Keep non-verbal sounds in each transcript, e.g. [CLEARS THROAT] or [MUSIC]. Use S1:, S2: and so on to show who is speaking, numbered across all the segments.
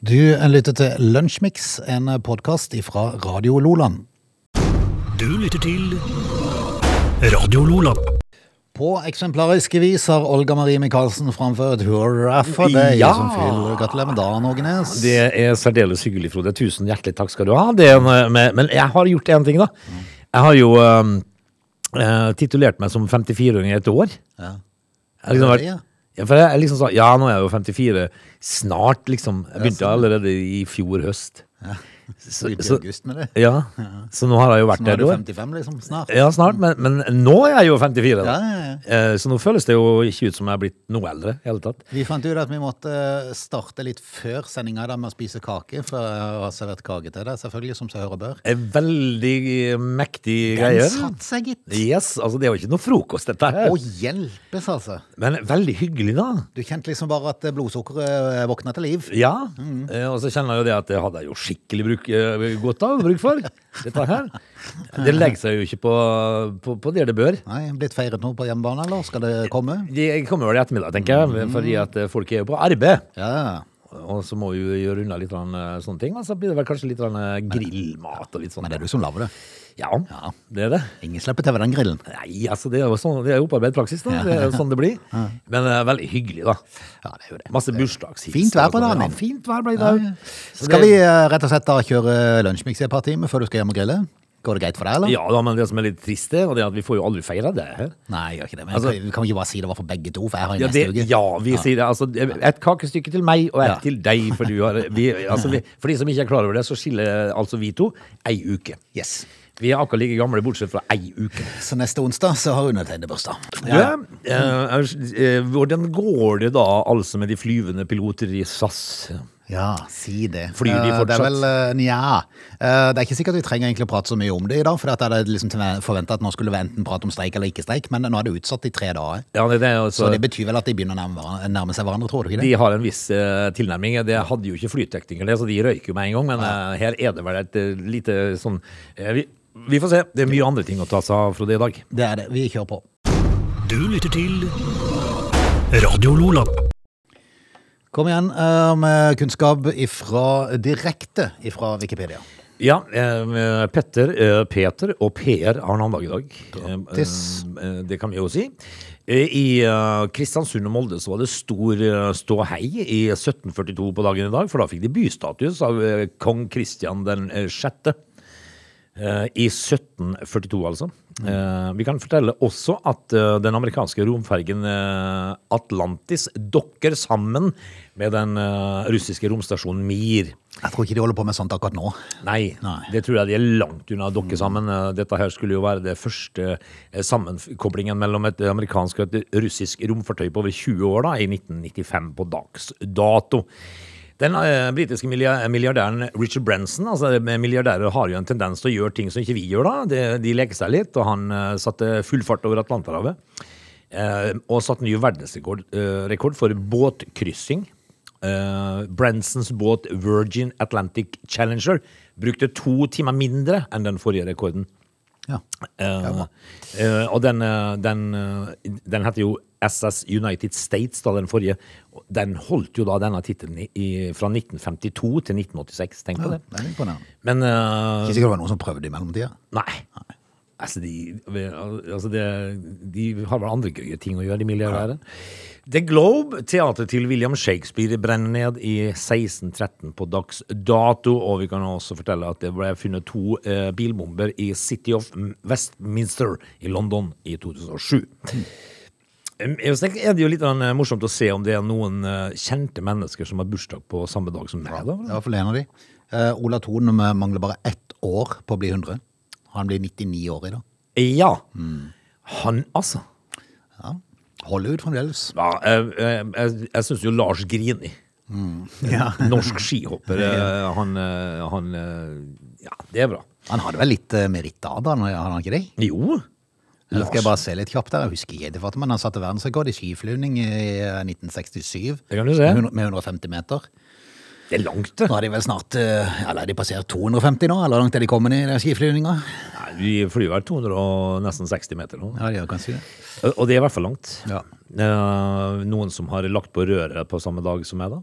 S1: Du lytter til Lunsjmix, en podkast fra Radio Loland.
S2: Du lytter til Radio Lola.
S1: På eksemplariske vis har Olga Marie Michaelsen framført hurra for deg
S3: Ja.
S1: som fyller. Gratulerer med dagen, Ågenes.
S3: Det er særdeles hyggelig, Frode. Tusen hjertelig takk skal du ha. Det, er en, eh, men- men jeg har gjort én ting, da. Jeg har jo eh, eh, titulert meg som 54-åring i et år.
S1: Ja.
S3: Jeg har liksom
S1: Ja, ja.
S3: vært, ja, for jeg, jeg liksom sa ja, nå er jeg jo 54 snart, liksom. Jeg begynte
S1: sånn.
S3: allerede i fjor høst. [LAUGHS] Så,
S1: Begynte i
S3: så-
S1: august med det.
S3: Ja, så nå har jeg jo vært
S1: Nå
S3: der
S1: er
S3: et
S1: du
S3: år.
S1: 55, liksom. Snart.
S3: Ja, snart, men, men nå er jeg jo 54, da.
S1: Ja, ja,
S3: Eh, Så nå føles det jo ikke ut som jeg er blitt noe eldre i hele tatt.
S1: Vi fant ut at vi måtte eh, starte litt før sendinga med å spise kake, for jeg har servert kake til deg, selvfølgelig, som seg hør og bør.
S3: Eh, Veldig mektig
S1: Den
S3: greie.
S1: satte seg, gitt.
S3: Yes, altså det er jo ikke noe frokost dette her.
S1: Å hjelpes, altså.
S3: Men veldig hyggelig da.
S1: Du kjente liksom bare at blodsukkeret våkna til liv.
S3: Ja, eh, og så kjenner jeg jo det at det hadde jeg jo skikkelig bruk, eh, godt av, bruk for, dette her. Det legger seg jo ikke på, på, på det det bør.
S1: Nei, Blitt feiret nå på hjemmebane, eller skal det komme?
S3: Det kommer vel i ettermiddag, tenker jeg,
S1: Mhm.
S3: fordi at eh, folk er jo på arbeid.
S1: Ja.
S3: Og så må vi jo gjøre unna litt grann, eh, sånne ting, og så blir det vel kanskje litt grann, eh, grillmat og litt sånn.
S1: Men det er du som lager det.
S3: Ja, det er det.
S1: Ingen slipper til ved den grillen.
S3: Nei, altså det er jo sånn, det er jo opparbeidet praksis da, det er jo sånn det blir. Men eh, veldig hyggelig da.
S1: Ja, det er jo det.
S3: Masse bursdagshils.
S1: Fint vær på
S3: og sånn.
S1: dagen.
S3: Ja, fint vær ble det i dag. Så
S1: Skal
S3: det-
S1: vi eh, rett og slett da kjøre lunsjmiks i et par timer før du skal hjem og grille? Går det greit for deg, eller?
S3: Ja, da, men det som er litt trist, det er at vi får jo aldri feira det her.
S1: Nei, jeg gjør ikke det. Men
S3: Altså-
S1: kan- vi kan ikke bare si det var for begge to, for jeg har en
S3: Ja,
S1: neste
S3: det,
S1: uke.
S3: ja vi sier det. Altså, et kakestykke til meg og et
S1: Ja.
S3: til deg, for du har vi, altså, vi, For de som ikke er klar over det, så skiller altså vi to ei uke.
S1: Yes.
S3: Vi er akkurat like gamle, bortsett fra ei uke.
S1: Så neste onsdag så har undertegnede bursdag.
S3: Du, eh, eh, hvordan går det da altså med de flyvende piloter i SAS?
S1: Ja, si det.
S3: Flyr de
S1: Eh, Det
S3: fortsatt?
S1: er vel, eh, nja. Eh, Det er ikke sikkert vi trenger egentlig å prate så mye om det i dag, for at jeg hadde liksom forventa at nå skulle vi enten prate om streik eller ikke streik, men nå er det utsatt i tre dager.
S3: Ja, det, det, er
S1: Så
S3: altså,
S1: det betyr vel at de begynner å nærme, hverandre- nærme seg hverandre, tror du ikke det?
S3: de har en viss eh, tilnærming. Det hadde jo ikke flytekninger, det, så de røyker jo med en gang. Men eh, her er det vel et eh, lite sånn eh, vi, vi får se. Det er mye andre ting å ta seg av, Frode, i dag.
S1: Det er det. Vi kjører på.
S2: Du lytter til Radio Lola.
S1: Kom igjen eh, med kunnskap ifra, direkte fra Wikipedia.
S3: Ja, eh, Petter, eh, Peter og Per har navnedag i dag.
S1: Grattis.
S3: Eh, eh, det kan vi jo si. Eh, I eh, Kristiansund og Molde så var det stor eh, ståhei i 1742 på dagen i dag, for da fikk de bystatus av eh, kong Kristian den eh, sjette. Eh, I 1742, altså. Eh, vi kan fortelle også at eh, den amerikanske romfergen eh, Atlantis dokker sammen med den eh, russiske romstasjonen Mir.
S1: Jeg tror ikke de holder på med sånt akkurat nå.
S3: Nei,
S1: Nei.
S3: det tror jeg de er langt unna å dokke sammen. Eh, Dette her skulle jo være det første eh, sammenkoblingen mellom et amerikansk og et russisk romfartøy på over 20 år, da, i 1995 på dags dato. Den eh, britiske milia- milliardæren Richard Branson, altså eh, milliardærer har jo en tendens til å gjøre ting som ikke vi gjør da. De, de leker seg litt, og han eh, satte full fart over Atlanterhavet. Eh, og satt ny verdensrekord eh, rekord for båtkryssing. Eh, Bransons båt Virgin Atlantic Challenger brukte to timer mindre enn den forrige rekorden.
S1: Ja.
S3: Eh, eh, og den, eh, den, eh, den heter jo SS United States, da, den forrige. Og Den holdt jo da denne tittelen i- i- fra 1952 til 1986, tenk på
S1: Det
S3: det.
S1: er imponerende.
S3: Men eh,
S1: Ikke sikkert det var noen som prøvde i mellomtida.
S3: Nei. Altså, de, altså det, de har vel andre gøye ting å gjøre, de milliardærene. The Globe, teatret til William Shakespeare, brenner ned i 1613 på dags dato. Og vi kan også fortelle at det ble funnet to eh, bilbomber i City of M- Westminster i London i 2007. Em, Jeg tenker, er det jo litt grann, eh, morsomt å se om det er noen eh, kjente mennesker som har bursdag på samme dag som meg.
S1: Det
S3: Da.
S1: var iallfall en av de. Eh, Ola Thon eh, mangler bare ett år på å bli 100. Han blir 99 år i dag.
S3: Ja. Mm. Han, altså.
S1: Ja. Hold ut fremdeles.
S3: Ja, jeg, jeg, jeg, jeg syns jo Lars Grini,
S1: Mm. Ja.
S3: [LAUGHS] norsk skihopper, eh, han, eh, han eh, Ja, det er bra.
S1: Han hadde vel litt eh, meritt av da, hadde han ikke det?
S3: Jo.
S1: Eller skal jeg bare se litt kjapt der? Jeg husker ikke, det var, men han satte verdensrekord i skiflyvning i eh, 1967.
S3: Det kan du se.
S1: Med 100 Med 150 meter.
S3: Det er langt, det.
S1: Nå har de vel snart, eh, eller har de passert 250 nå, eller hvor langt er de kommet i den skiflyvninga?
S3: Nei, vi flyr vel 200 og nesten 60 meter nå.
S1: Ja, de gjør kanskje det.
S3: Og det er i hvert fall langt.
S1: Ja.
S3: Eh, noen som har lagt på røret på samme dag som meg, da.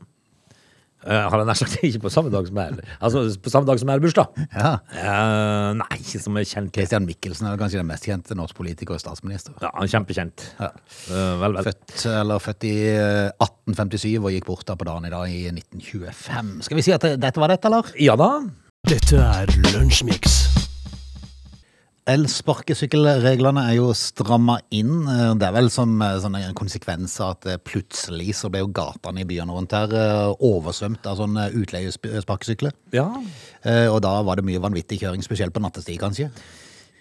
S3: Eh, har jeg nær sagt [LAUGHS] ikke på samme dag som jeg Altså på samme dag som jeg har bursdag.
S1: Ja.
S3: Eh, nei, ikke som jeg kjenner til.
S1: Christian Mikkelsen er kanskje den mest kjente norsk politiker og statsminister.
S3: Ja, han er kjempekjent.
S1: Ja.
S3: Eh, vel, vel.
S1: Født, eller født i eh, 1857 og gikk bort da på dagen i dag i 1925. Skal vi si at det- dette var dette, eller?
S3: Ja da.
S2: Dette er Lunsjmix.
S1: Elsparkesykkelreglene er jo stramma inn. Eh, Det er vel som eh, sånn en konsekvens av at eh, plutselig så ble jo gatene i byene rundt her eh, oversvømt av sånne utleiesparkesykler.
S3: Ja.
S1: Eh, Og da var det mye vanvittig kjøring, spesielt på nattestid, kanskje.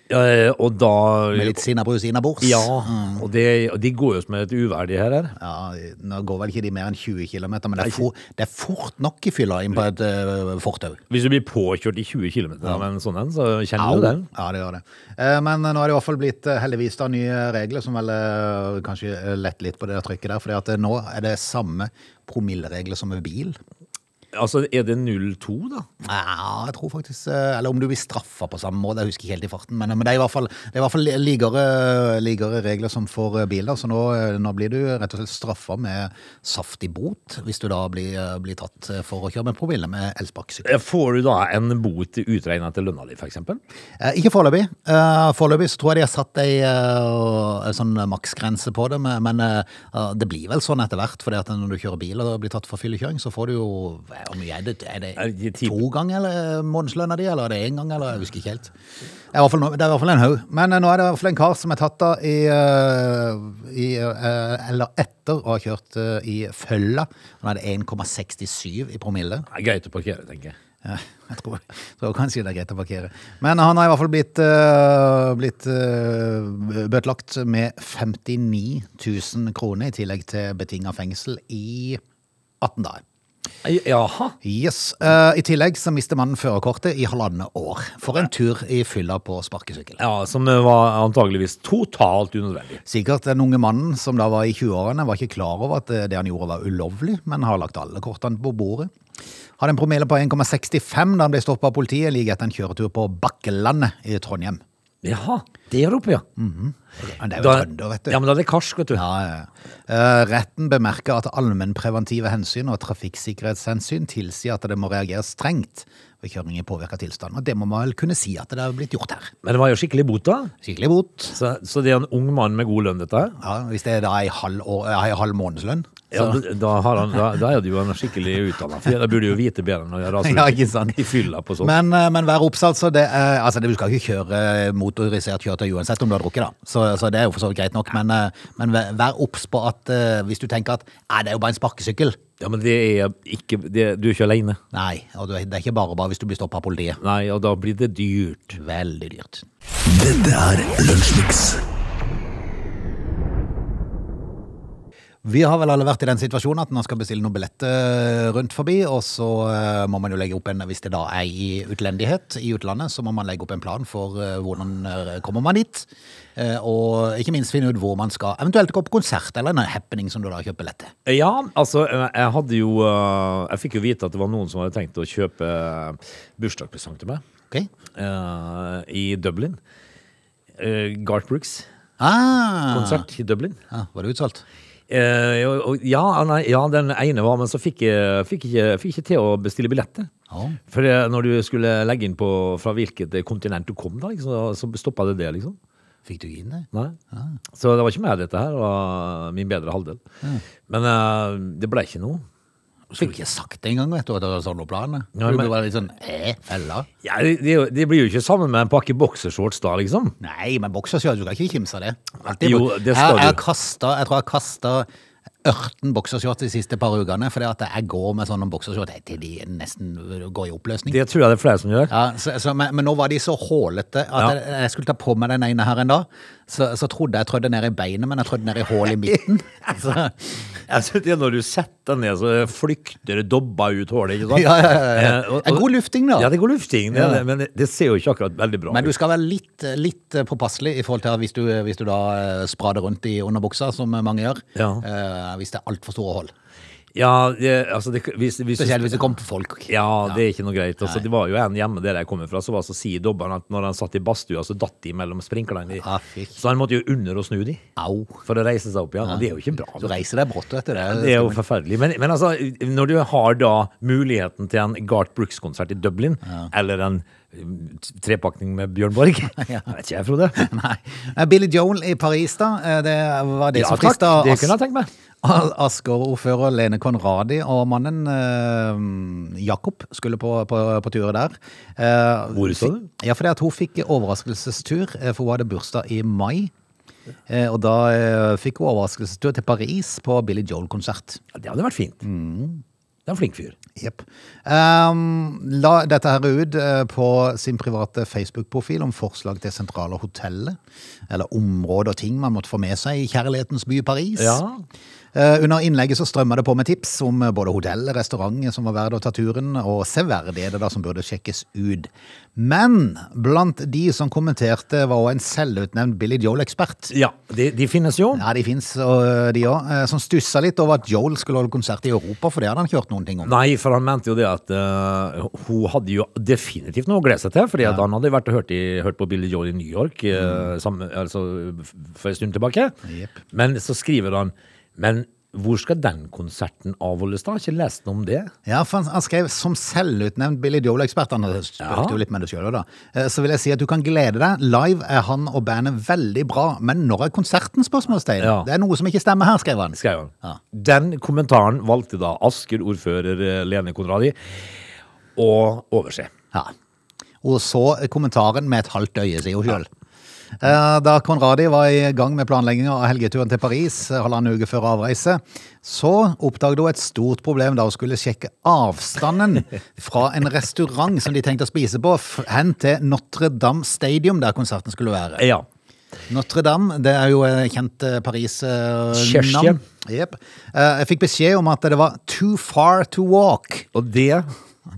S3: Eh, og da
S1: Med litt mm. sinnabrus innabords.
S3: Ja. Og det, og de går jo som et uvær, de her. her.
S1: Ja, nå går vel ikke de mer enn 20 km, men det er, for, det er fort nok i fylla inn på et eh, fortau.
S3: Hvis du blir påkjørt i 20 km av en sånn en, så kjenner du den.
S1: Ja, det gjør det. Eh, Men nå er det i hvert fall blitt eh, heldigvis da nye regler som vel eh, kanskje eh, letter litt på det trykket der, for nå er det samme promilleregler som med bil.
S3: Altså, er det 02, da?
S1: Ja, jeg tror faktisk eh, Eller om du blir straffa på samme måte, jeg husker ikke helt i farten. Men, men det er i hvert fall, det er i hvert fall likere, likere regler som for eh, bil. da, Så nå, eh, nå blir du rett og slett straffa med saftig bot hvis du da blir, eh, blir tatt eh, for å kjøre med promille med elsparkesykkel.
S3: Eh, Får du da en bot utregna til lønna di, f.eks.?
S1: Eh, Ikke foreløpig. Eh, Foreløpig så tror jeg de har satt ei eh, en sånn maksgrense på det, men men, eh, eh, det blir vel sånn etter hvert. For når du kjører bil og blir tatt for fyllekjøring, så får du jo hva- Hvor mye er det? Er
S3: Er det
S1: det
S3: ti-
S1: to ganger eller eh, månedslønna di, eller er det én gang, eller jeg husker ikke helt. Det er i hvert fall, no- det er i hvert fall en haug. Men eh, nå er det i hvert fall en kar som er tatt av i, eh, i eh, Eller etter å ha kjørt eh, i følga. Han hadde 1,67 i promille.
S3: Det er greit å parkere, tenker jeg.
S1: Ja, jeg tror, tror kanskje det er greit å parkere. Men han har i hvert fall blitt, øh, blitt øh, bøtelagt med 59 000 kroner, i tillegg til betinga fengsel i 18 dager.
S3: Eh, Jaha.
S1: Yes. øh, I tillegg så mister mannen førerkortet i halvannet år for en tur i fylla på sparkesykkel.
S3: Ja, Som eh, var antageligvis totalt unødvendig.
S1: Sikkert den unge mannen som da var i 20-årene, var ikke klar over at eh, det han gjorde var ulovlig, men har lagt alle kortene på bordet. Hadde en promille på 1,65 da han ble stoppa av politiet like etter en kjøretur på Bakkelandet i Trondheim.
S3: Jaha, der oppe, ja.
S1: Men det er jo
S3: Mm. Da-
S1: trønder, vet du.
S3: Ja, men da er det karsk, vet du.
S1: Ja, ja, ja. Eh, retten bemerker at allmennpreventive hensyn og trafikksikkerhetshensyn tilsier at det må reageres strengt ved kjøring i påvirka tilstand. Og det må man vel kunne si at det er blitt gjort her.
S3: Men det var jo skikkelig bot, da.
S1: Skikkelig bot.
S3: Så, så det er en ung mann med god lønn, dette her.
S1: Ja, hvis det er da ei halv, år, eh, ei halv månedslønn.
S3: Ja, da, da, har han, da, da er det jo en skikkelig utdanna fyr. Da burde jo vite bedre enn å rase
S1: Ja,
S3: ut
S1: ikke sant.
S3: i fylla på sånt.
S1: Men, eh, men vær obs, altså. Det er, altså det, du skal ikke kjøre eh, motorisert kjøretøy uansett om du har drukket, da. Så, så det er jo for så vidt greit nok. Men, eh, men vær- vær obs på at eh, hvis du tenker at nei, det er jo bare en sparkesykkel.
S3: Ja, men det er ikke det, Du er ikke aleine.
S1: Nei, og det er ikke bare bare hvis du blir stoppa av politiet.
S3: Nei, og da blir det dyrt.
S1: Veldig dyrt.
S2: Dette er Lunsjmix.
S1: Vi har vel alle vært i den situasjonen at man skal bestille noen billetter eh, rundt forbi, og så eh, må man jo legge opp en, hvis det da er i utlendighet i utlandet, så må man legge opp en plan for eh, hvordan eh, kommer man dit, eh, og ikke minst finne ut hvor man skal, eventuelt gå på konsert eller en happening som du da kjøper billett til.
S3: Ja, altså, eh, jeg hadde jo eh, Jeg fikk jo vite at det var noen som hadde tenkt å kjøpe eh, bursdagspresang til meg
S1: Ok?
S3: eh, i Dublin. Eh, Garth Brooks
S1: Ah!
S3: konsert i Dublin.
S1: Ja, var det utsolgt?
S3: Eh, og, og, ja, nei, ja, den ene var, men så fikk jeg fikk ikke, fikk ikke til å bestille billetter.
S1: Ja.
S3: For eh, når du skulle legge inn på fra hvilket kontinent du kom, da, liksom, så stoppa det det, liksom.
S1: Fikk du ikke inn det?
S3: Nei.
S1: Ah.
S3: Så det var ikke meg, dette her. Det var min bedre halvdel.
S1: Ah.
S3: Men eh, det ble ikke noe.
S1: Skulle du ikke sagt det engang, vet du, at det var sånn sånne planer?
S3: Ja,
S1: Skulle
S3: men-
S1: du bare litt sånn, eh, eller?
S3: Ja, det, det, er jo- det blir jo ikke sammen med en pakke boksershorts da, liksom.
S1: Nei, men boksershorts, du kan ikke kimse av det. Alltid
S3: Jo,
S1: bruk-
S3: det skal
S1: jeg, jeg,
S3: du.
S1: kastet, jeg tror jeg har kasta ørten boksershorts de siste par ukene, fordi at jeg går med sånne boksershorts til de nesten går i oppløsning.
S3: Det tror jeg det er flere som gjør.
S1: Ja, så, så, men, men nå var de så hålete at
S3: Ja.
S1: jeg, jeg skulle ta på meg den ene her en dag. Så, så trodde jeg trødde ned i beinet, men jeg trødde ned i hullet i
S3: [LAUGHS]
S1: midten. Så,
S3: Jeg synes det er Når du setter deg ned, så flykter det dobba ut hålet. ikke sant?
S1: ja, ja, ja, ja.
S3: Eh, og-
S1: En god lufting, da.
S3: Ja, det går lufting, det, er det, men det- det ser jo ikke akkurat veldig bra
S1: Men
S3: ut.
S1: du skal være litt, litt påpasselig i forhold til at hvis du, hvis du da eh, sprader rundt i underbuksa, som mange gjør,
S3: Ja.
S1: eh, hvis det er altfor store hull.
S3: Ja, det, altså det, hvis, hvis
S1: Spesielt hvis det kom folk.
S3: Ja, det er ikke noe greit. Altså, det var jo en hjemme der jeg kommer fra, så var så sier dobberen at når han satt i badstua, så datt de mellom sprinklene. i-
S1: Ah, fy.
S3: så han måtte jo under og snu de
S1: Au.
S3: for å reise seg opp igjen. og Det er jo ikke bra.
S1: Du reiser deg brått, vet du. Det,
S3: Det er jo forferdelig. Men, men altså, når du har da muligheten til en Garth Brooks-konsert i Dublin, eller en mm, t- trepakning med Bjørn
S1: [LAUGHS]
S3: Borg Jeg vet ikke, jeg, Frode.
S1: [LAUGHS] Nei. Eh, Billy Joel i Paris, da. eh, Det var det
S3: Ja,
S1: som
S3: takk.
S1: frista
S3: Det kunne jeg tenkt meg.
S1: Asker-ordfører Lene Konradi og mannen eh, Jakob skulle på, på, på tur der. Eh,
S3: Hvor sa du?
S1: Ja, fordi at hun fikk overraskelsestur, eh, for hun hadde bursdag i mai. Eh, Og da eh, fikk hun overraskelsestur til Paris på Billy Joel-konsert.
S3: Ja, det hadde vært fint.
S1: Mm.
S3: Det er en flink fyr.
S1: Jepp. Ehm, la dette her ut eh, på sin private Facebook-profil om forslag til sentrale hoteller, eller områder og ting man måtte få med seg i kjærlighetens by Paris.
S3: Ja.
S1: Eh, under innlegget så strømmer det på med tips om eh, både hotell, restaurant eh, som var verdt å ta turen, og severdigheter da som burde sjekkes ut. Men blant de som kommenterte var også en selvutnevnt Billy Joel-ekspert.
S3: Ja, de, de finnes jo.
S1: Ja, de fins, de òg. Som stussa litt over at Joel skulle holde konsert i Europa, for det hadde han ikke hørt noen ting om.
S3: Nei, for han mente jo det at eh, hun hadde jo definitivt noe å glede seg til, fordi at han hadde vært og hørt, i, hørt på Billy Joel i New York eh, samme- altså, f- for en stund tilbake.
S1: Mm. Jep.
S3: Men så skriver han Men hvor skal den konserten avholdes, da? Har Ikke lest noe om det.
S1: Ja, for han, han skrev som selvutnevnt Billy Joel-ekspert, han
S3: Ja.
S1: spurte jo litt med det selv også da, Eh, så vil jeg si at du kan glede deg. Live er han og bandet veldig bra, men når er konserten, spørsmålstegn?
S3: Ja.
S1: Det er noe som ikke stemmer her, skrev han.
S3: Skrev han.
S1: Ja.
S3: Den kommentaren valgte da Asker ordfører eh, Lene Konradi å overse.
S1: Ja. Og så kommentaren med et halvt øye, sier hun sjøl. Da Konradi var i gang med planlegginga av helgeturen til Paris eh, halvannen uke før avreise, så oppdaget hun et stort problem da hun skulle sjekke avstanden fra en restaurant som de tenkte å spise på, f- hen til Notre-Dame Stadium, der konserten skulle være.
S3: Ja.
S1: Notre-Dame, det er jo eh, kjent Paris-navn.
S3: Kirke.
S1: Yep. Eh, Jeg fikk beskjed om at det var too far to walk.
S3: Og det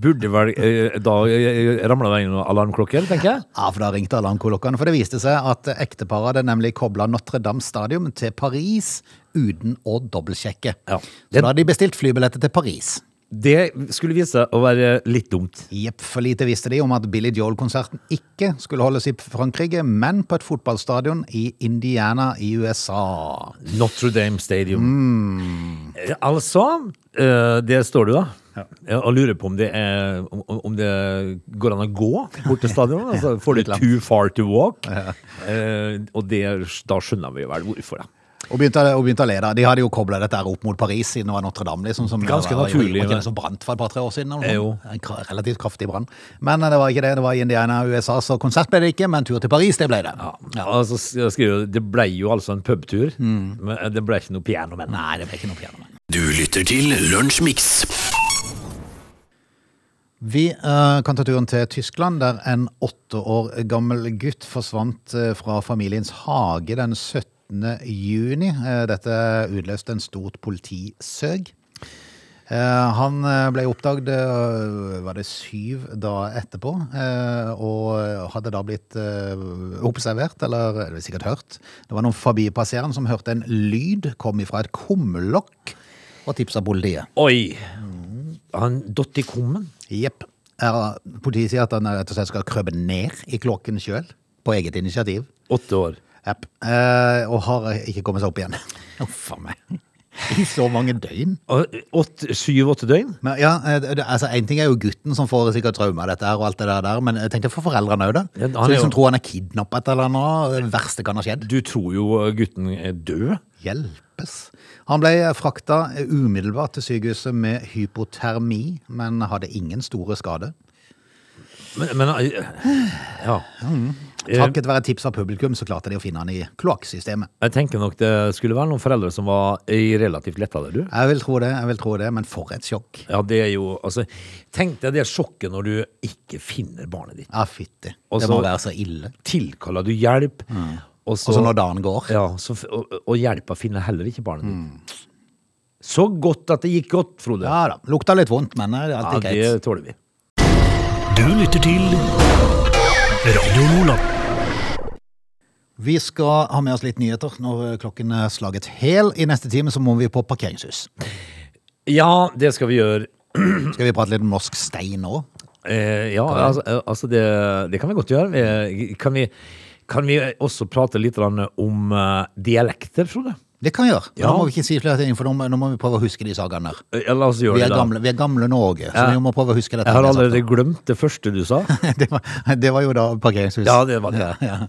S3: burde vel eh, Da eh, ramla det inn noen alarmklokker, tenker jeg.
S1: Ja, for da ringte alarmklokkene, for det viste seg at ekteparet hadde nemlig kobla Notre-Dame Stadium til Paris uten å dobbeltsjekke.
S3: Ja.
S1: Så da hadde de bestilt flybilletter til Paris.
S3: Det skulle vise seg å være litt dumt.
S1: Jepp, for lite visste de om at Billy Joel-konserten ikke skulle holdes i Frankrike, men på et fotballstadion i Indiana i USA.
S3: Notre Dame Stadium. Eh, Altså, eh, der står du da. Ja, og lurer på om det, er, om, om det går an å gå bort til stadion. Altså, får du too far to walk? Eh, og det, da skjønner vi vel hvorfor. Da.
S1: Og begynte, og begynte å le, da. De hadde jo kobla dette her opp mot Paris siden det var Notre-Dame. Liksom, som
S3: Ganske
S1: var,
S3: naturlig,
S1: Var ikke
S3: men-
S1: det som brant for et par-tre år siden? Eller
S3: Eh,
S1: noe? sånt? En kra- relativt kraftig brann. Men eh, det var ikke det. Det var i Indiana og USA, så konsert ble det ikke, men tur til Paris, det ble det.
S3: Altså, s- skriver, du, det ble jo altså en pubtur, men eh, det ble ikke noe piano med den.
S1: Nei, det ble ikke noe piano. men.
S2: Du lytter til Lunsjmix.
S1: Vi eh, kan ta turen til Tyskland, der en åtte år gammel gutt forsvant eh, fra familiens hage den 17. juni. Eh, dette utløste en stort politisøg. Eh, han eh, ble oppdaget eh, var det syv da etterpå, eh, og hadde da blitt eh, observert, eller det var sikkert hørt. Det var noen forbipasserende som hørte en lyd komme fra et kumlokk, og tipsa politiet.
S3: Oi! Han dott i kummen.
S1: Jepp. Er- Politiet sier at han rett og slett skal krøbe ned i klokken sjøl, på eget initiativ.
S3: Åtte år.
S1: Jepp. Eh, og har ikke kommet seg opp
S3: [LAUGHS]
S1: igjen. Uff a meg. I så mange døgn.
S3: Og åtte- Syv-åtte døgn?
S1: Men ja, eh, det, altså Én ting er jo gutten som får sikkert traume av dette, her og alt det der, der, men jeg tenkte for foreldrene òg, da.
S3: Ja, han
S1: Så
S3: er
S1: de som
S3: jo-
S1: tror han er kidnappet eller noe, det verste kan ha skjedd.
S3: Du tror jo gutten er død.
S1: Hjelpes. Han ble frakta umiddelbart til sykehuset med hypotermi, men hadde ingen store skader.
S3: Men, men eh, ja.
S1: Mm.
S3: Eh,
S1: Takket være tips av publikum så klarte de å finne han i kloakksystemet.
S3: Jeg tenker nok det skulle være noen foreldre som var eh, relativt letta der, du.
S1: Jeg vil tro det, jeg vil tro det, men for et sjokk.
S3: Ja, det er jo Altså, tenk deg det sjokket når du ikke finner barnet ditt.
S1: Ja, fytti.
S3: Og
S1: Det
S3: så-
S1: må være så ille.
S3: Tilkaller du hjelp, og
S1: Mm. Og så når dagen går.
S3: Ja, så, f- og, og hjelpa finner heller ikke barnet ditt. Så godt at det gikk godt,
S1: Mm.
S3: Frode.
S1: Ja da. Lukta litt vondt, men eh, det er
S3: Ja,
S1: alltid
S3: det
S1: greit.
S3: tåler vi.
S2: Du lytter til Radio Nordland.
S1: Vi skal ha eh, med oss litt nyheter når klokken er slaget hel. I neste time så må vi på parkeringshus.
S3: Ja, det skal vi gjøre.
S1: Skal vi prate litt om norsk stein nå?
S3: Eh, ja, altså, eh, altså det, det kan vi godt gjøre. Vi, kan, vi, kan vi også prate litt grann om eh, dialekter, Frode?
S1: Det kan vi gjøre. Men
S3: Ja.
S1: Nå må vi ikke si flere ting, for nå må, nå må vi prøve å huske de sakene der.
S3: Eh, Ja, la oss gjøre
S1: Vi
S3: det.
S1: er
S3: da.
S1: gamle, vi er gamle Norge, så
S3: Ja.
S1: vi må prøve å huske dette.
S3: Jeg har
S1: vi sagt
S3: allerede glemt det første du sa.
S1: nå. [LAUGHS] det, var, det var jo da parkeringshus.
S3: [LAUGHS] Ja, det var det.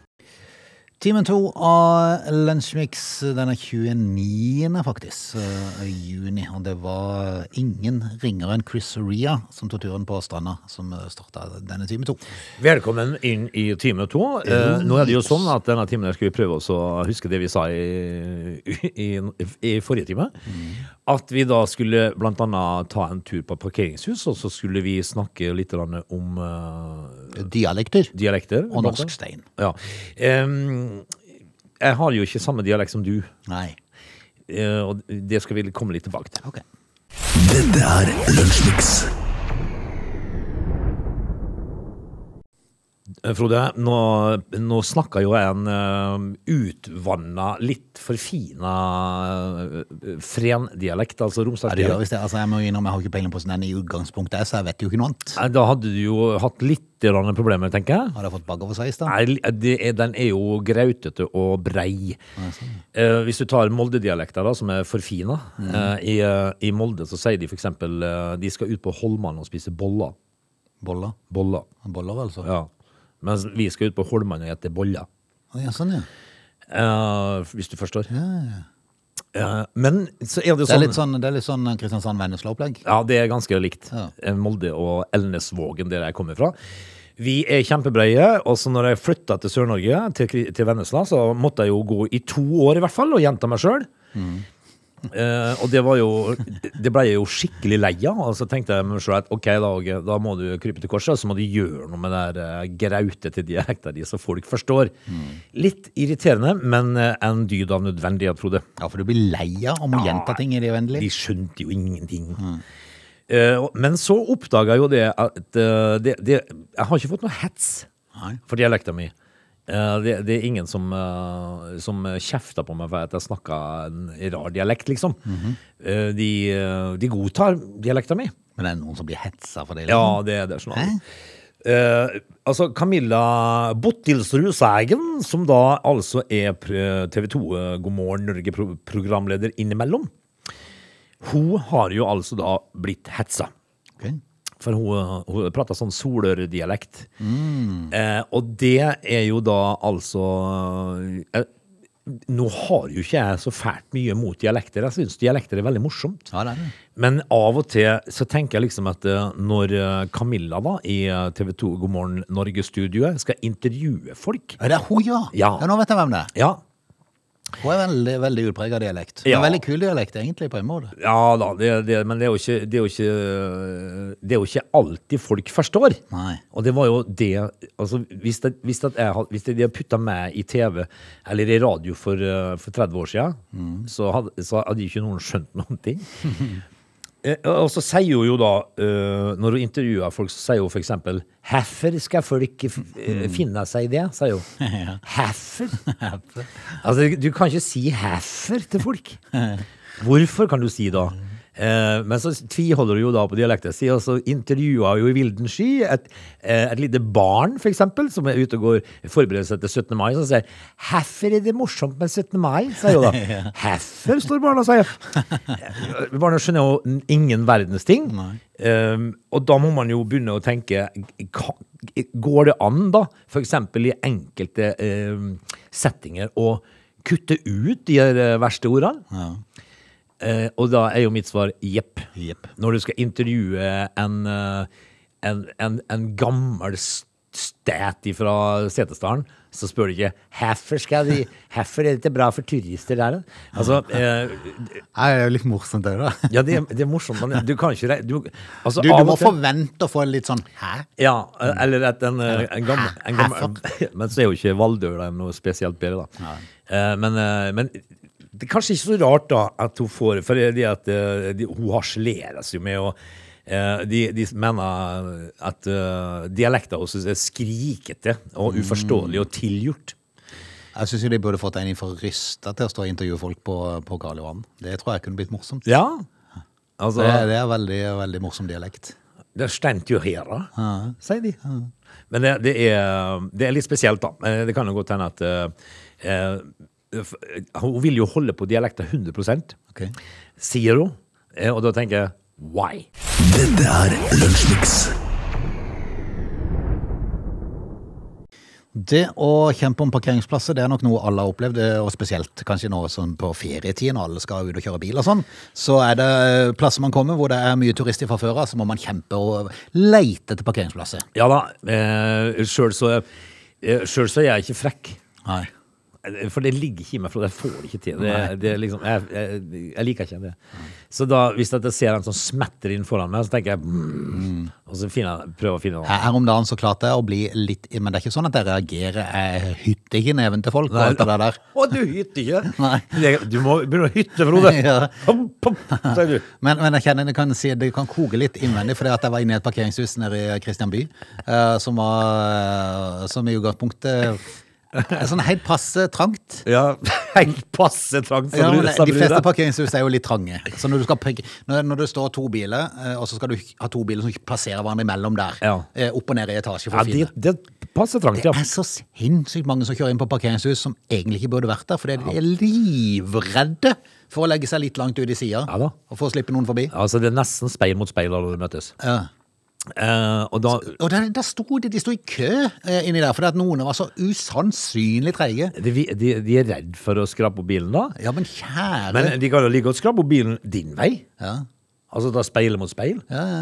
S1: Timen to av Lunsjmix, den er 29. faktisk, eh, juni. Og det var ingen ringere enn Chris Ria som tok turen på stranda, som starta denne time to.
S3: Velkommen inn i time to. Eh, nå er det jo sånn at denne timen her skal vi prøve også å huske det vi sa i, i, i forrige time. At vi da skulle blant annet ta en tur på parkeringshus, og så skulle vi snakke litt grann om eh,
S1: Dialekter
S3: dialekter.
S1: og
S3: blant
S1: norsk
S3: annet.
S1: stein.
S3: Ja. Em, jeg har jo ikke samme dialekt som du,
S1: Nei.
S3: eh, og det skal vi komme litt tilbake til.
S1: Ok.
S2: Dette er Lunsjmix.
S3: Eh, Frode, nå, nå snakka jo jeg en uh, utvanna, litt forfina eh, frendialekt,
S1: Ja,
S3: altså
S1: det gjør
S3: romsdalsdialekt.
S1: visst det. Altså, jeg må jo innrømme, jeg har ikke peiling på hvordan den i utgangspunktet er, så jeg vet jo ikke noe annet.
S3: Eh, Da hadde du jo hatt litt grann problemer, tenker jeg.
S1: Har jeg fått bakoversveis, da?
S3: Nei, li- det er, den er jo grautete og brei. Eh, hvis du tar Molde-dialekter, da, som er forfina eh, i, eh, I Molde så sier de f.eks. Uh, de skal ut på Holman og spise boller.
S1: Boller.
S3: Boller,
S1: Boller, altså.
S3: ja. Mens vi skal ut på Holman og spise boller.
S1: Ja, sånn, ja.
S3: Eh, hvis du forstår. Eh, men så er det jo
S1: Det er
S3: sånn,
S1: litt sånn, det er litt sånn Kristiansand-Vennesla-opplegg.
S3: Ja, det er ganske likt.
S1: Ja.
S3: Eh, Molde og Elnesvågen, der jeg kommer fra. Vi er kjempebreie, og så når jeg flytta til Sør-Norge, til, Kri- til Vennesla, så måtte jeg jo gå i to år i hvert fall, og gjenta meg sjøl. Eh, og det var jo Det ble jeg jo skikkelig lei av. Og så tenkte jeg meg sjøl at OK, da, Åge, da må du krype til korset, og så må du gjøre noe med den uh, grautete dialekta di, så folk forstår. Litt irriterende, men eh, en dyd av nødvendighet, Frode.
S1: Ja, for du blir lei av å må gjenta ting i det
S3: De
S1: uendelige.
S3: skjønte jo ingenting. Eh, og- men så oppdaga jo det at eh, det, det, Jeg har ikke fått noe hets
S1: Nei.
S3: for dialekta mi. Eh, det, det er ingen som, eh, som kjefter på meg for at jeg snakka en rar dialekt, liksom. Eh, de, eh, de godtar dialekta mi.
S1: Men det er noen som blir hetsa for det. liksom.
S3: Ja, det er det. Sånn. at- Eh, altså Camilla Bottilsrud Sægen, som da altså er TV 2 eh, God morgen Norge-programleder innimellom, hun har jo altså da blitt hetsa.
S1: Ok.
S3: For hun, hun prater sånn solørdialekt. Eh, og det er jo da altså eh, Nå har jo ikke jeg så fælt mye mot dialekter. Jeg syns dialekter er veldig morsomt.
S1: Ja, det er det.
S3: Men av og til så tenker jeg liksom at eh, når eh, Camilla da, i eh, TV 2 God morgen Norge-studioet skal intervjue folk
S1: Ja, det er hun, ja.
S3: Ja.
S1: Nå vet jeg hvem det er.
S3: ja,
S1: Hun er veldig, veldig utprega dialekt.
S3: Ja.
S1: Men veldig kul dialekt, egentlig, på en måte.
S3: ja da, det, det, men det er, jo ikke, det, er jo ikke, det er jo ikke alltid folk forstår.
S1: Nei.
S3: Og det var jo det altså, Hvis, det, hvis, det, jeg, had- hvis det, de hadde putta meg i TV eller i radio for, eh, for 30 år siden, så, hadde, så hadde ikke noen skjønt noen ting. Eh, Og så sier hun jo da, eh, når hun intervjuer folk, så sier hun for eksempel Hvorfor skal folk eh, finne seg i det? sier hun. Hvorfor? altså, du kan ikke si hvorfor til folk. Hvorfor kan du si da? Eh, men så tviholder du jo da på dialekten sin, og så intervjuer hun jo i vilden sky et, eh, et lite barn, for eksempel, som er ute og går forbereder seg til 17. mai, som sier 'Hvorfor er det morsomt med 17. mai?' sier hun da. 'Hvorfor?' står barna og sier. Barna skjønner jo n- ingen verdens ting. Ehm, og da må man jo begynne å tenke ka- Går det an, da, f.eks. i enkelte ehm, settinger, å kutte ut de her eh, verste ordene? Eh, og da er jo mitt svar jepp.
S1: Jepp.
S3: Når du skal intervjue en, eh, en, en, en gammel s- stæt fra Setesdalen, så spør du ikke 'Hvorfor skal de- hvorfor er dette bra for turister der?' da?» Altså, eh,
S1: Nei, det er jo litt morsomt, det, da.
S3: ja, det, er- det er morsomt, men du kan ikke re- du, altså,
S1: Du, du
S3: av og
S1: må
S3: til-
S1: forvente å få litt sånn hæ?
S3: Ja, eller at en, eh, en gammel, en gammel
S1: Mm.
S3: [LAUGHS]
S1: Hæ,
S3: Men så er jo ikke Valdøla noe spesielt bedre, da. Eh, Men, eh, men det er kanskje ikke så rart da at hun får For det er at eh, de, hun harseleres jo med å eh, de, de mener at uh, dialekten hennes er skrikete og uforståelig og
S1: Mm.
S3: tilgjort.
S1: Jeg syns de burde fått en fra Rysta til å stå og intervjue folk på, på Karl Johan. Det tror jeg kunne blitt morsomt.
S3: Ja. Altså,
S1: Det, det er veldig, veldig morsom dialekt.
S3: Det stemte jo her, da, sier de. Men det, det, er, det er litt spesielt, da. Eh, Det kan jo godt hende at eh, eh, f- Hun vil jo holde på dialekten 100
S1: Ok.
S3: sier hun. Eh, Og da tenker jeg why?
S2: Dette er Lunsjmix.
S1: Det å kjempe om parkeringsplasser det er nok noe alle har opplevd, eh, og spesielt kanskje nå sånn på ferietiden når alle skal ut og kjøre bil og sånn. Så er det eh, plasser man kommer hvor det er mye turister fra før av, så må man kjempe og leite etter parkeringsplasser.
S3: Ja da. Eh, Sjøl så, eh, selv så er jeg ikke frekk.
S1: Nei.
S3: Eh, For det ligger ikke i meg, for jeg får det ikke til. Det, det er liksom, jeg, jeg, jeg liker ikke det. Så da, hvis at jeg ser en som smetter inn foran meg, så tenker jeg mm, Og så finner jeg, prøver jeg å finne noe.
S1: Her om dagen så klarte jeg å bli litt Men det er ikke sånn at jeg reagerer. Jeg hytter ikke neven til folk og alt det der.
S3: Å, du hytter ikke?
S1: Nei.
S3: Det- Du må begynne å hytte, [LAUGHS] Frode.
S1: Ja.
S3: Pom, pom, sier du.
S1: Men, men jeg kjenner det kan, si, det kan koke litt innvendig, fordi at jeg var inne i et parkeringshus nede i Kristianby, eh, som var eh, Som i utgangspunktet er sånn helt passe trangt.
S3: [LAUGHS] Ja, helt passe trangt.
S1: Ja, men
S3: sa
S1: de
S3: Brune.
S1: fleste parkeringshus er jo litt trange. Så når, du skal, parke- når, når det står to biler, eh, og så skal du ha to biler som ikke plasserer hverandre imellom der,
S3: Ja.
S1: eh, opp og ned i etasje for å
S3: ja, det,
S1: finne.
S3: det passer trangt, ja.
S1: Det er så sinnssykt mange som kjører inn på parkeringshus som egentlig ikke burde vært der, fordi de er livredde for å legge seg litt langt ut i sida
S3: Ja da.
S1: og for å slippe noen forbi.
S3: Altså, det er nesten speil mot speil når du møtes.
S1: Ja.
S3: Eh, og da,
S1: Og der, der sto de, de sto i kø eh, inni der, fordi at noen var så usannsynlig treige.
S3: de, de, de er redd for å skrape opp bilen da.
S1: Ja, men kjære
S3: Men eh, de kan jo like godt skrape opp bilen din vei.
S1: ja.
S3: Altså da speil mot speil.
S1: Ja, ja.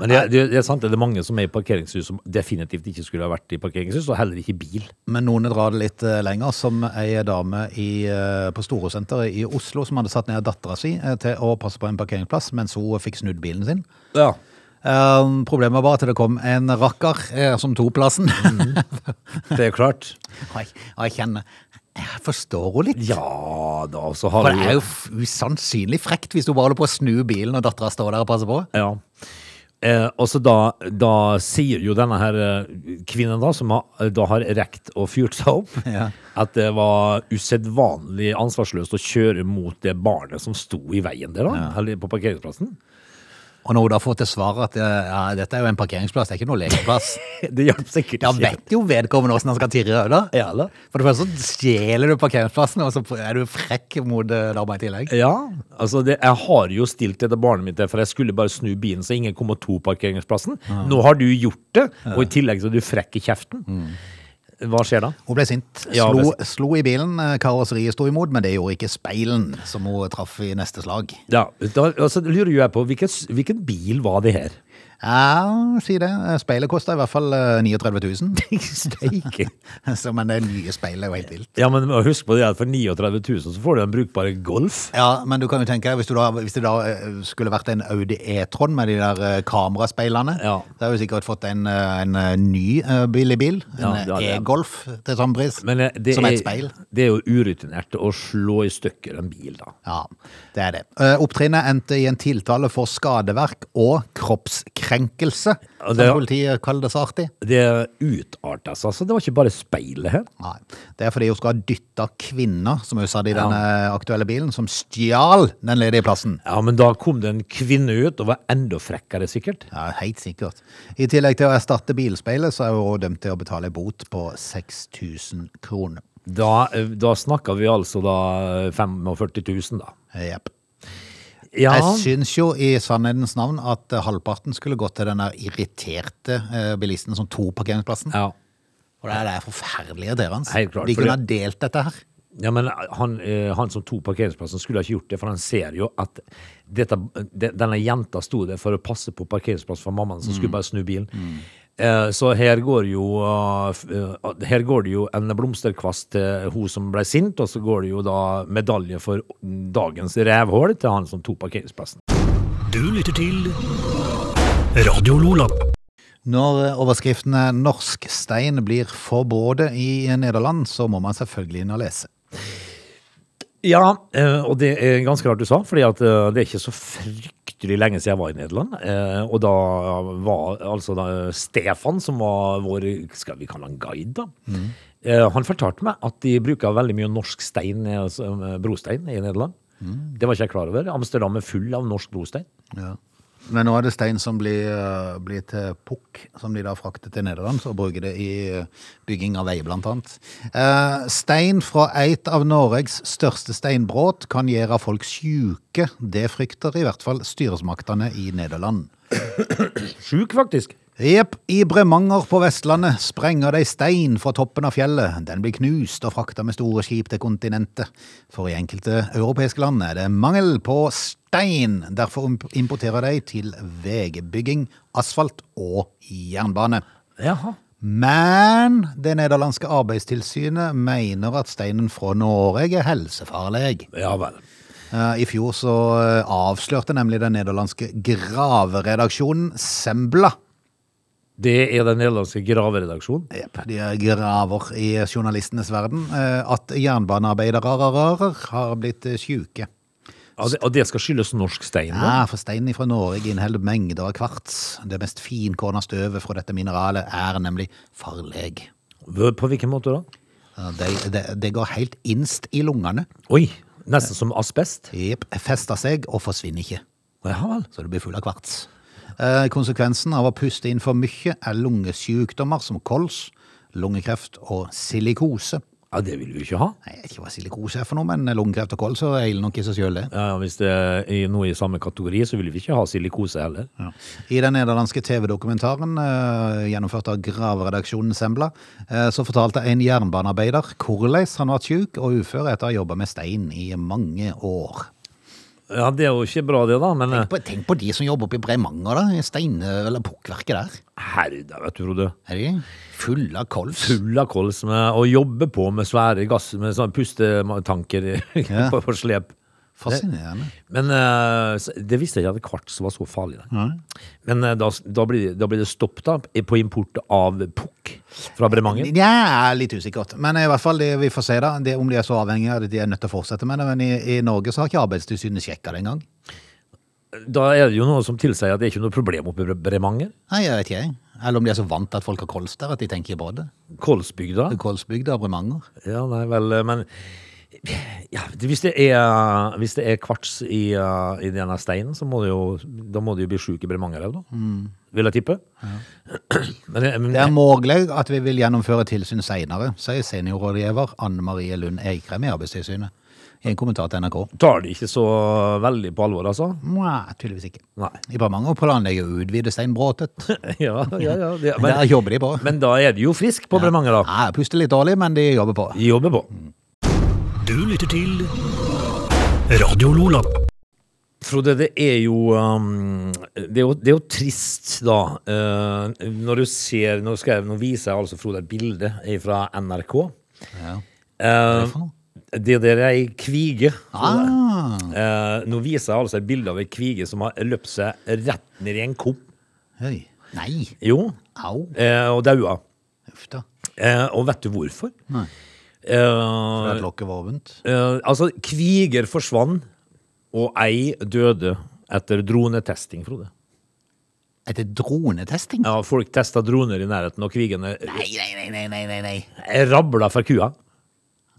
S3: Men det, det, det er sant, det er mange som er i parkeringshus som definitivt ikke skulle ha vært i parkeringshus, og heller ikke i bil.
S1: Men noen drar det litt eh, lenger, som ei dame i, eh, på Storosenteret i Oslo som hadde satt ned dattera si eh, til å passe på en parkeringsplass mens hun eh, fikk snudd bilen sin.
S3: Ja.
S1: Eh, Problemet var bare at det kom en rakker eh, som tok plassen.
S3: Mhm. Det er klart.
S1: [LAUGHS] Og jeg, og jeg kjenner Jeg forstår henne litt.
S3: Ja da, og så har
S1: For
S3: du
S1: det er jo f- usannsynlig frekt hvis hun bare holder på å snu bilen, og dattera står der og passer på.
S3: Ja. Eh, og så da, da sier jo denne her eh, kvinnen da, som har, eh, da har rekt og fyrt seg opp,
S1: [LAUGHS] Ja.
S3: at det var usedvanlig ansvarsløst å kjøre mot det barnet som sto i veien der da, eller på parkeringsplassen. [LAUGHS]
S1: Og når hun da får til svar at eh, ja, dette er jo en parkeringsplass, det er ikke noe
S3: [LAUGHS]
S1: lekeplass,
S3: Det hjalp sikkert
S1: da vet jo vedkommende åssen han skal tirre øla.
S3: Ja, da.
S1: For det første så stjeler du parkeringsplassen, og så er du frekk mot eh, dama i tillegg.
S3: Ja, altså det, jeg har jo stilt dette barnet mitt der, for jeg skulle bare snu bilen så ingen kom og tok parkeringsplassen. Nå har du gjort det, og i tillegg så er du frekk i kjeften.
S1: Mm.
S3: Hva skjer da?
S1: Hun ble sint.
S3: Ja, hun ble
S1: Slo, slo i bilen, eh, karosseriet sto imot, men det gjorde ikke speilen som hun traff i neste slag.
S3: Ja, da altså, lurer jo jeg på, hvilken, s- hvilken bil var det her?
S1: Ja, si det. Speilet kosta i hvert fall eh, 39 000.
S3: [LAUGHS] Steike.
S1: [LAUGHS] så, men det nye speilet er jo helt vilt.
S3: Ja, men husk på det at for 39 000 så får du en brukbar Golf.
S1: Ja, men du kan jo tenke deg, hvis, du da, hvis det da eh, skulle vært en Audi e-tron med de der eh, kameraspeilene,
S3: Ja.
S1: da har vi sikkert fått en, eh, en eh, ny eh, billig bil, en
S3: Ja,
S1: eh,
S3: det hadde jeg.
S1: e-golf til samme pris,
S3: Men eh, det
S1: som
S3: er,
S1: et speil.
S3: det er jo urutinert å slå i stykker en bil, da.
S1: Ja, det er det. Eh, Opptrinnet endte i en tiltale for skadeverk og kroppskrenkelse,
S3: Ja, det-
S1: som politiet kaller det så artig.
S3: Det utarta seg, altså. Det var ikke bare speilet her.
S1: Nei, det er fordi hun skal ha dytta kvinner, som hun sa det i denne eh, aktuelle bilen, som stjal den ledige plassen.
S3: Ja, men da kom det en kvinne ut og var enda frekkere, sikkert.
S1: Ja, helt sikkert. I tillegg til å erstatte bilspeilet, så er hun også dømt til å betale bot på 6000 kroner.
S3: Da, eh, da snakka vi altså da eh, 45 000, da.
S1: Eh, Jepp.
S3: Ja,
S1: Jeg syns jo i sannhetens navn at eh, halvparten skulle gått til den der irriterte eh, bilisten som tok parkeringsplassen.
S3: ja.
S1: Og det er, det er forferdelig irriterende.
S3: Helt klart,
S1: De
S3: for
S1: kunne
S3: det-
S1: ha delt dette her.
S3: ja men han, eh, han som tok parkeringsplassen, skulle ha ikke gjort det, for han ser jo at dette, de- denne jenta sto der for å passe på parkeringsplass for mammaen, som skulle bare snu bilen. Eh, Så her går, jo, eh, f- eh, her går det jo en blomsterkvast til hun som ble sint, og så går det jo da medalje for dagens rævhål til han som tok parkeringsplassen.
S2: Du lytter til Radio Lola.
S1: Når eh, overskriften er 'Norsk stein blir forbudt i Nederland', så må man selvfølgelig inn og lese.
S3: Ja, eh, og det er ganske rart du sa, fordi at eh, det er ikke så fryktelig lenge siden jeg var i Nederland. eh, Og da var altså da Stefan, som var vår Skal vi kalle han guide, da? eh, Han fortalte meg at de bruker veldig mye norsk stein, eh, altså, eh, brostein, i Nederland. Det var ikke jeg klar over. Amsterdam er full av norsk brostein.
S1: Ja. Men nå er det stein som blir, eh, blir til pukk, som de da frakter til Nederland, så bruker det i eh, bygging av veier, blant annet. Eh, stein fra eit av Norges største steinbråt kan gjøre folk syke. Det frykter i hvert fall styresmaktene i Nederland.
S3: Sjuk, faktisk.
S1: Jepp, i Bremanger på Vestlandet sprenger de stein fra toppen av fjellet. Den blir knust og frakta med store skip til kontinentet. For i enkelte europeiske land er det mangel på stein. Derfor imp- importerer de til veibygging, asfalt og jernbane.
S3: Jaha.
S1: Men det nederlandske arbeidstilsynet mener at steinen fra Norge er helsefarlig.
S3: Ja vel.
S1: Eh, I fjor så eh, avslørte nemlig den nederlandske graveredaksjonen Sembla
S3: Det er den nederlandske graveredaksjonen.
S1: Jep, de er graver i journalistenes verden. eh, At jernbanearbeidere har blitt eh, syke.
S3: Ja, det- Og det skal skyldes norsk stein? da?
S1: Ja, Ah, for steinen fra Norge inneholder mengder av kvarts. Det mest finkorna støvet fra dette mineralet er nemlig farlig.
S3: Hva- På hvilken måte da?
S1: Eh, Det det- det går helt innst i lungene.
S3: Oi, nesten som asbest.
S1: Jep, fester seg og forsvinner ikke.
S3: Ja vel.
S1: så du blir full av kvarts. Eh, konsekvensen av å puste inn for mye er lungesykdommer som kols, lungekreft og silikose.
S3: Ja, det vil vi jo ikke ha.
S1: Nei, Jeg vet ikke hva silikose er for noe, men lungekreft og kols så er ille nok i seg sjøl, det.
S3: Ja, ja, hvis det er noe i samme kategori, så vil vi ikke ha silikose heller.
S1: I den nederlandske TV-dokumentaren eh, gjennomført av graveredaksjonen Sembla, eh, så fortalte en jernbanearbeider hvordan han var syk og ufør etter å ha jobba med stein i mange år.
S3: Ja, Det er jo ikke bra, det, da. Men eh,
S1: Tenk på, tenk på de som jobber oppe i Bremanger, da. I stein- eller pukkverket der.
S3: herda, vet du, Frode.
S1: Er de fulle av kols?
S3: Full av kols med å jobbe på med svære gass, med sånne pustetanker [LAUGHS]
S1: Ja.
S3: på, på slep.
S1: Fascinerende.
S3: Men eh, s- det visste jeg ikke at kvarts var så farlig. Da. Men eh, da, s- da, blir, da blir det stopp da, på import av pukk fra Bremanger.
S1: Ja, litt usikkert. Men i hvert fall, det vi får se da, det om de er så avhengige av det, de er nødt til å fortsette med det. Men i, i Norge så har ikke Arbeidstilsynet sjekka det engang.
S3: Da er det jo noe som tilsier at det er ikke noe problem oppe i Bre- Bremanger.
S1: Nei, jeg vet ikke, jeg. Eller om de er så vant til at folk har kols der, at de tenker på det.
S3: Kolsbygda.
S1: Kolsbygda og Bremanger.
S3: Ja, nei vel, eh, men ja, det- hvis, det er, hvis det er kvarts i, uh, i denne steinen, så må det jo, da må det jo bli sjuk i Bremangerelv, da. Vil jeg tippe. [CLEARS THROAT] Men, jeg-
S1: Mm.
S3: men
S1: Det er mulig at vi vil gjennomføre tilsyn senere, sier seniorrådgiver Anne Marie Lund Eikrem i Arbeidstilsynet. I en kommentar til NRK.
S3: tar det ikke så veldig på alvor, altså?
S1: Nei, tydeligvis ikke.
S3: Nei. [LAUGHS]
S1: I Bremanger planlegger å utvide [LAUGHS] steinbråtet.
S3: Ja, ja, ja. Det,
S1: Men der
S3: men,
S1: jobber de [LAUGHS] på.
S3: men da er det jo frisk på Bremanger, da.
S1: Nei, puster litt dårlig, men de jobber på.
S3: De Jobber på.
S1: Mm.
S2: Du lytter til Radio Lola.
S3: Frode, det er jo um, det, er jo, det er jo trist, da. eh, når du ser Nå, skal jeg, nå viser jeg altså Frode et bilde fra NRK.
S1: Ja.
S3: Eh,
S1: for noe?
S3: det der er ei kvige. Frode.
S1: Ah,
S3: Eh, nå viser jeg altså et bilde av ei kvige som har løpt seg rett ned i en kopp.
S1: høy. Nei.
S3: Jo.
S1: Au.
S3: eh, og daua.
S1: Uff da.
S3: Eh, og vet du hvorfor?
S1: Nei.
S3: Eh,
S1: For at lokket var vondt.
S3: eh, altså, kviger forsvant, og ei døde etter dronetesting, Frode.
S1: Etter dronetesting?
S3: Ja, folk testa droner i nærheten, og kvigene
S1: Nei, nei, nei, nei, nei, nei, nei.
S3: rabla fra kua.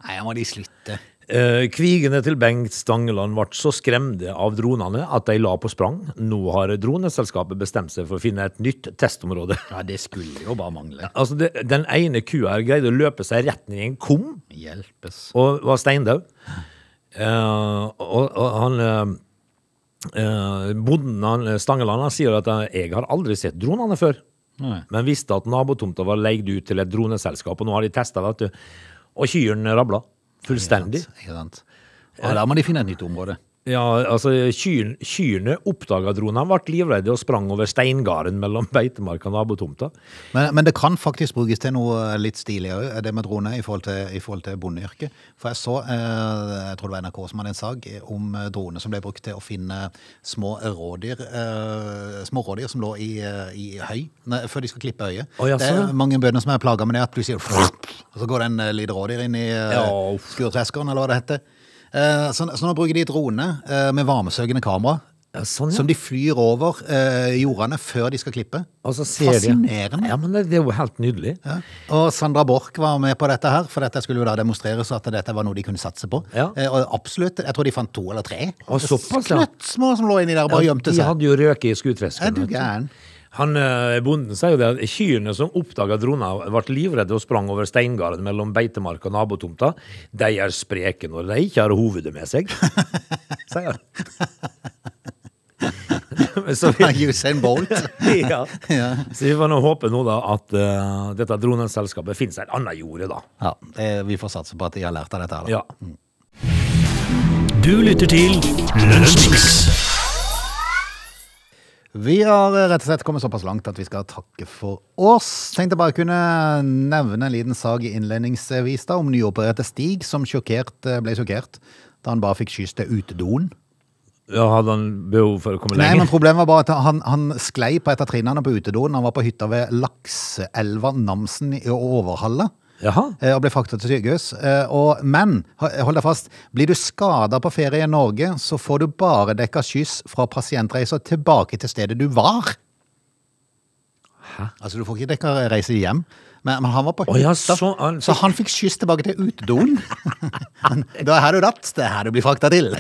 S1: Nei, nå må de slutte.
S3: Eh, Kvigene til Bengt Stangeland ble så skremte av dronene at de la på sprang. Nå har droneselskapet bestemt seg for å finne et nytt testområde. [LAUGHS]
S1: Ja, det skulle jo bare mangle.
S3: Altså, det, Den ene kua her greide å løpe seg rett ned i en kum
S1: Hjelpes.
S3: og var steindau. Eh, og, og han eh, eh, bonden han, Stangeland han sier at eh, 'jeg har aldri sett dronene før',
S1: Nei.
S3: men visste at nabotomta var leid ut til et droneselskap, og nå har de testa, vet du. Og kyrne rabla. Fullstendig.
S1: Ikke sant? Og da må de finne et nytt område.
S3: Ja, altså kyr, Kyrne oppdaga dronene, ble livredde og sprang over steingarden mellom [LAUGHS] beitemarka og nabotomta.
S1: Men, men det kan faktisk brukes til noe litt stilig òg, det med drone, i forhold til, i forhold til bondeyrket. For jeg så, eh, jeg tror det var NRK som hadde en sak om eh, drone som ble brukt til å finne små rådyr, eh, små rådyr som lå i, eh, i høy, nei, før de skal klippe øyet.
S3: Å, ja,
S1: det er
S3: sånn, ja.
S1: mange bønder som er [LAUGHS] plaga med det, at plutselig og så går det en eh, liten rådyr inn i eh,
S3: Ja, uff.
S1: skurteskeren, eller hva det heter. Eh, Så, så nå bruker de drone eh, med varmesøkende kamera,
S3: Ja, sånn, ja.
S1: som de flyr over eh, jordene før de skal klippe.
S3: Og så ser de-
S1: Fascinerende.
S3: Ja, men det, det er jo helt nydelig.
S1: Ja. Og Sandra Borch var med på dette her, for dette skulle jo da demonstreres at dette var noe de kunne satse på.
S3: Ja.
S1: Eh, Og absolutt, jeg tror de fant to eller tre.
S3: Og såpass, ja.
S1: Knøttsmå som lå inni der og bare
S3: Ja,
S1: gjemte
S3: De
S1: seg.
S3: hadde jo røket
S1: Er
S3: i skutresken.
S1: du
S3: vet du. [LAUGHS]
S1: gæren?
S3: Han, eh, bonden sier jo det at kyrne som oppdaga droner, ble livredde og sprang over steingarden mellom beitemark og nabotomta. De er spreke når de ikke har hovedet
S1: [LAUGHS]
S3: med seg, sier han. [LAUGHS] Så vi,
S1: Usain
S3: [LAUGHS]
S1: Bolt.
S3: ja. Så vi får nå håpe nå da at eh, dette droneselskapet finnes et annet jorde, da.
S1: Ja, eh, vi får satse på at de har lært av dette her. da.
S3: Ja.
S2: Du lytter til Lunsjmix.
S1: Vi har eh, rett og slett kommet såpass langt at vi skal takke for oss. Tenkte bare kunne nevne en liten sag i innledningsvis da, om nyopererte Stig, som sjokkert, eh, ble sjokkert da han bare fikk skyss til utedoen.
S3: Ja, Hadde han behov for å komme
S1: Nei, men
S3: lenger?
S1: problemet var bare at han, han sklei på et av trinnene på utedoen. Han var på hytta ved Lakseelva Namsen i Overhalla.
S3: Jaha.
S1: eh, Og ble frakta til sykehus. Eh, Og, men, ho- hold deg fast, blir du skada på ferie i Norge, så får du bare dekka skyss fra pasientreiser tilbake til stedet du var.
S3: Hæ?
S1: Altså, du får ikke dekka reise hjem. Men, men han var på
S3: Å ja,
S1: hytta,
S3: så han-
S1: så han fikk skyss tilbake til
S3: [LAUGHS]
S1: utedoen. det er her du datt, det er her du blir frakta til.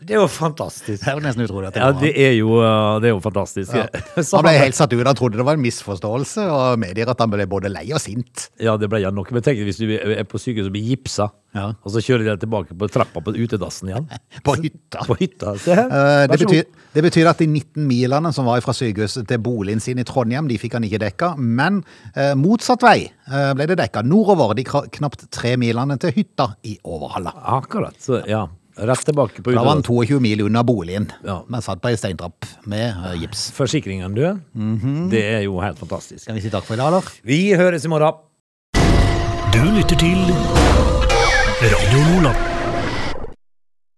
S3: Det er jo fantastisk.
S1: Det er jo nesten utrolig at det
S3: Ja,
S1: går an.
S3: det er jo, eh, det er jo fantastisk.
S1: Ja.
S3: [LAUGHS] Så
S1: Han ble helt satt ut. Han trodde det var en misforståelse, og medier at han ble både lei og sint.
S3: Ja, det ble jeg nok. Men tenk deg hvis du er på sykehus og blir gipsa,
S1: Ja.
S3: og så kjører de deg tilbake på trappa på utedassen igjen.
S1: [LAUGHS] På hytta.
S3: På hytta. Se her.
S1: Eh,
S3: Vær
S1: Det
S3: så
S1: betyr,
S3: god.
S1: det betyr at de 19 milene som var fra sykehuset til boligen sin i Trondheim, de fikk han ikke dekka. Men eh, motsatt vei eh, ble det dekka. Nordover de kra- knapt tre milene til hytta i Overhalla.
S3: Akkurat. Så, ja. Rett tilbake på
S1: Da var han
S3: utedassen.
S1: 22 mil unna boligen,
S3: Ja.
S1: men satt på ei steintrapp med eh, gips.
S3: Forsikringen, du. Det er jo helt fantastisk.
S1: Mhm. Skal vi si takk for i dag, eller?
S3: Vi høres i morgen.
S2: Du lytter til Radio Lola.